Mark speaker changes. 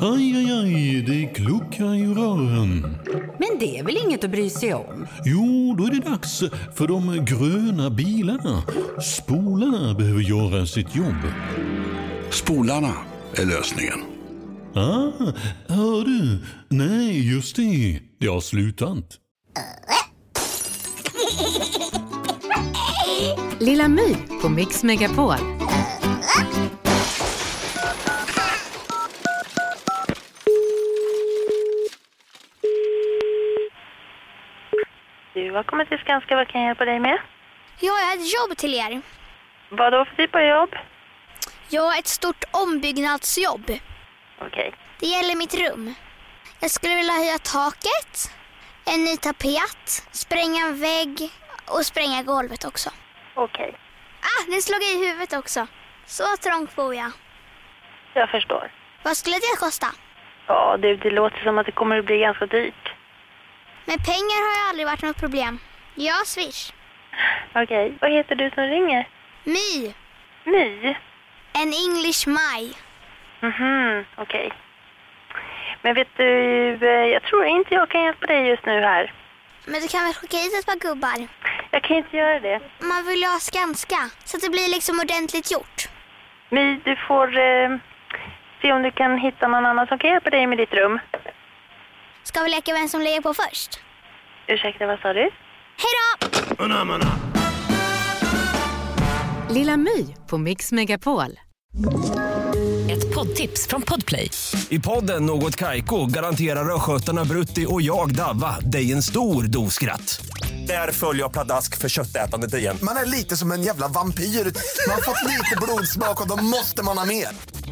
Speaker 1: Aj, aj, aj, det kluckar i rören.
Speaker 2: Men det är väl inget att bry sig om?
Speaker 1: Jo, då är det dags för de gröna bilarna. Spolarna behöver göra sitt jobb.
Speaker 3: Spolarna är lösningen.
Speaker 1: Ah, hör du? Nej, just det. Det har slutat.
Speaker 4: Lilla My på Mix Megapol.
Speaker 5: Du har kommit till Skanska, vad kan jag hjälpa dig med?
Speaker 6: Jag har ett jobb till er.
Speaker 5: Vad då för typ av jobb?
Speaker 6: Jag har ett stort ombyggnadsjobb.
Speaker 5: Okej.
Speaker 6: Det gäller mitt rum. Jag skulle vilja höja taket, en ny tapet, spränga en vägg och spränga golvet också.
Speaker 5: Okej,
Speaker 6: Ah, nu slog jag i huvudet också. Så trångt bor jag.
Speaker 5: jag förstår.
Speaker 6: Vad skulle det kosta?
Speaker 5: Ja du, det låter som att det kommer att bli ganska dyrt.
Speaker 6: Med pengar har jag aldrig varit något problem. Jag har swish.
Speaker 5: Okej, vad heter du som ringer?
Speaker 6: My,
Speaker 5: My?
Speaker 6: en English Maj.
Speaker 5: Mhm, okej. Men vet du, eh, jag tror inte jag kan hjälpa dig just nu här.
Speaker 6: Men du kan väl skicka hit ett par gubbar?
Speaker 5: Jag kan inte göra det.
Speaker 6: Man vill ju ha Skanska, så att det blir liksom ordentligt gjort.
Speaker 5: My, du får eh, se om du kan hitta någon annan som kan hjälpa dig med ditt rum.
Speaker 6: Ska vi leka vem som lägger på först?
Speaker 5: Ursäkta, vad sa du?
Speaker 6: Hej då!
Speaker 4: Lilla My på Mix Megapol.
Speaker 7: Ett poddtips från Podplay.
Speaker 8: I podden Något Kaiko garanterar östgötarna Brutti och jag, Davva, dig en stor dos skratt. Där följer jag pladask för köttätandet igen.
Speaker 9: Man är lite som en jävla vampyr. Man har fått lite blodsmak och då måste man ha mer.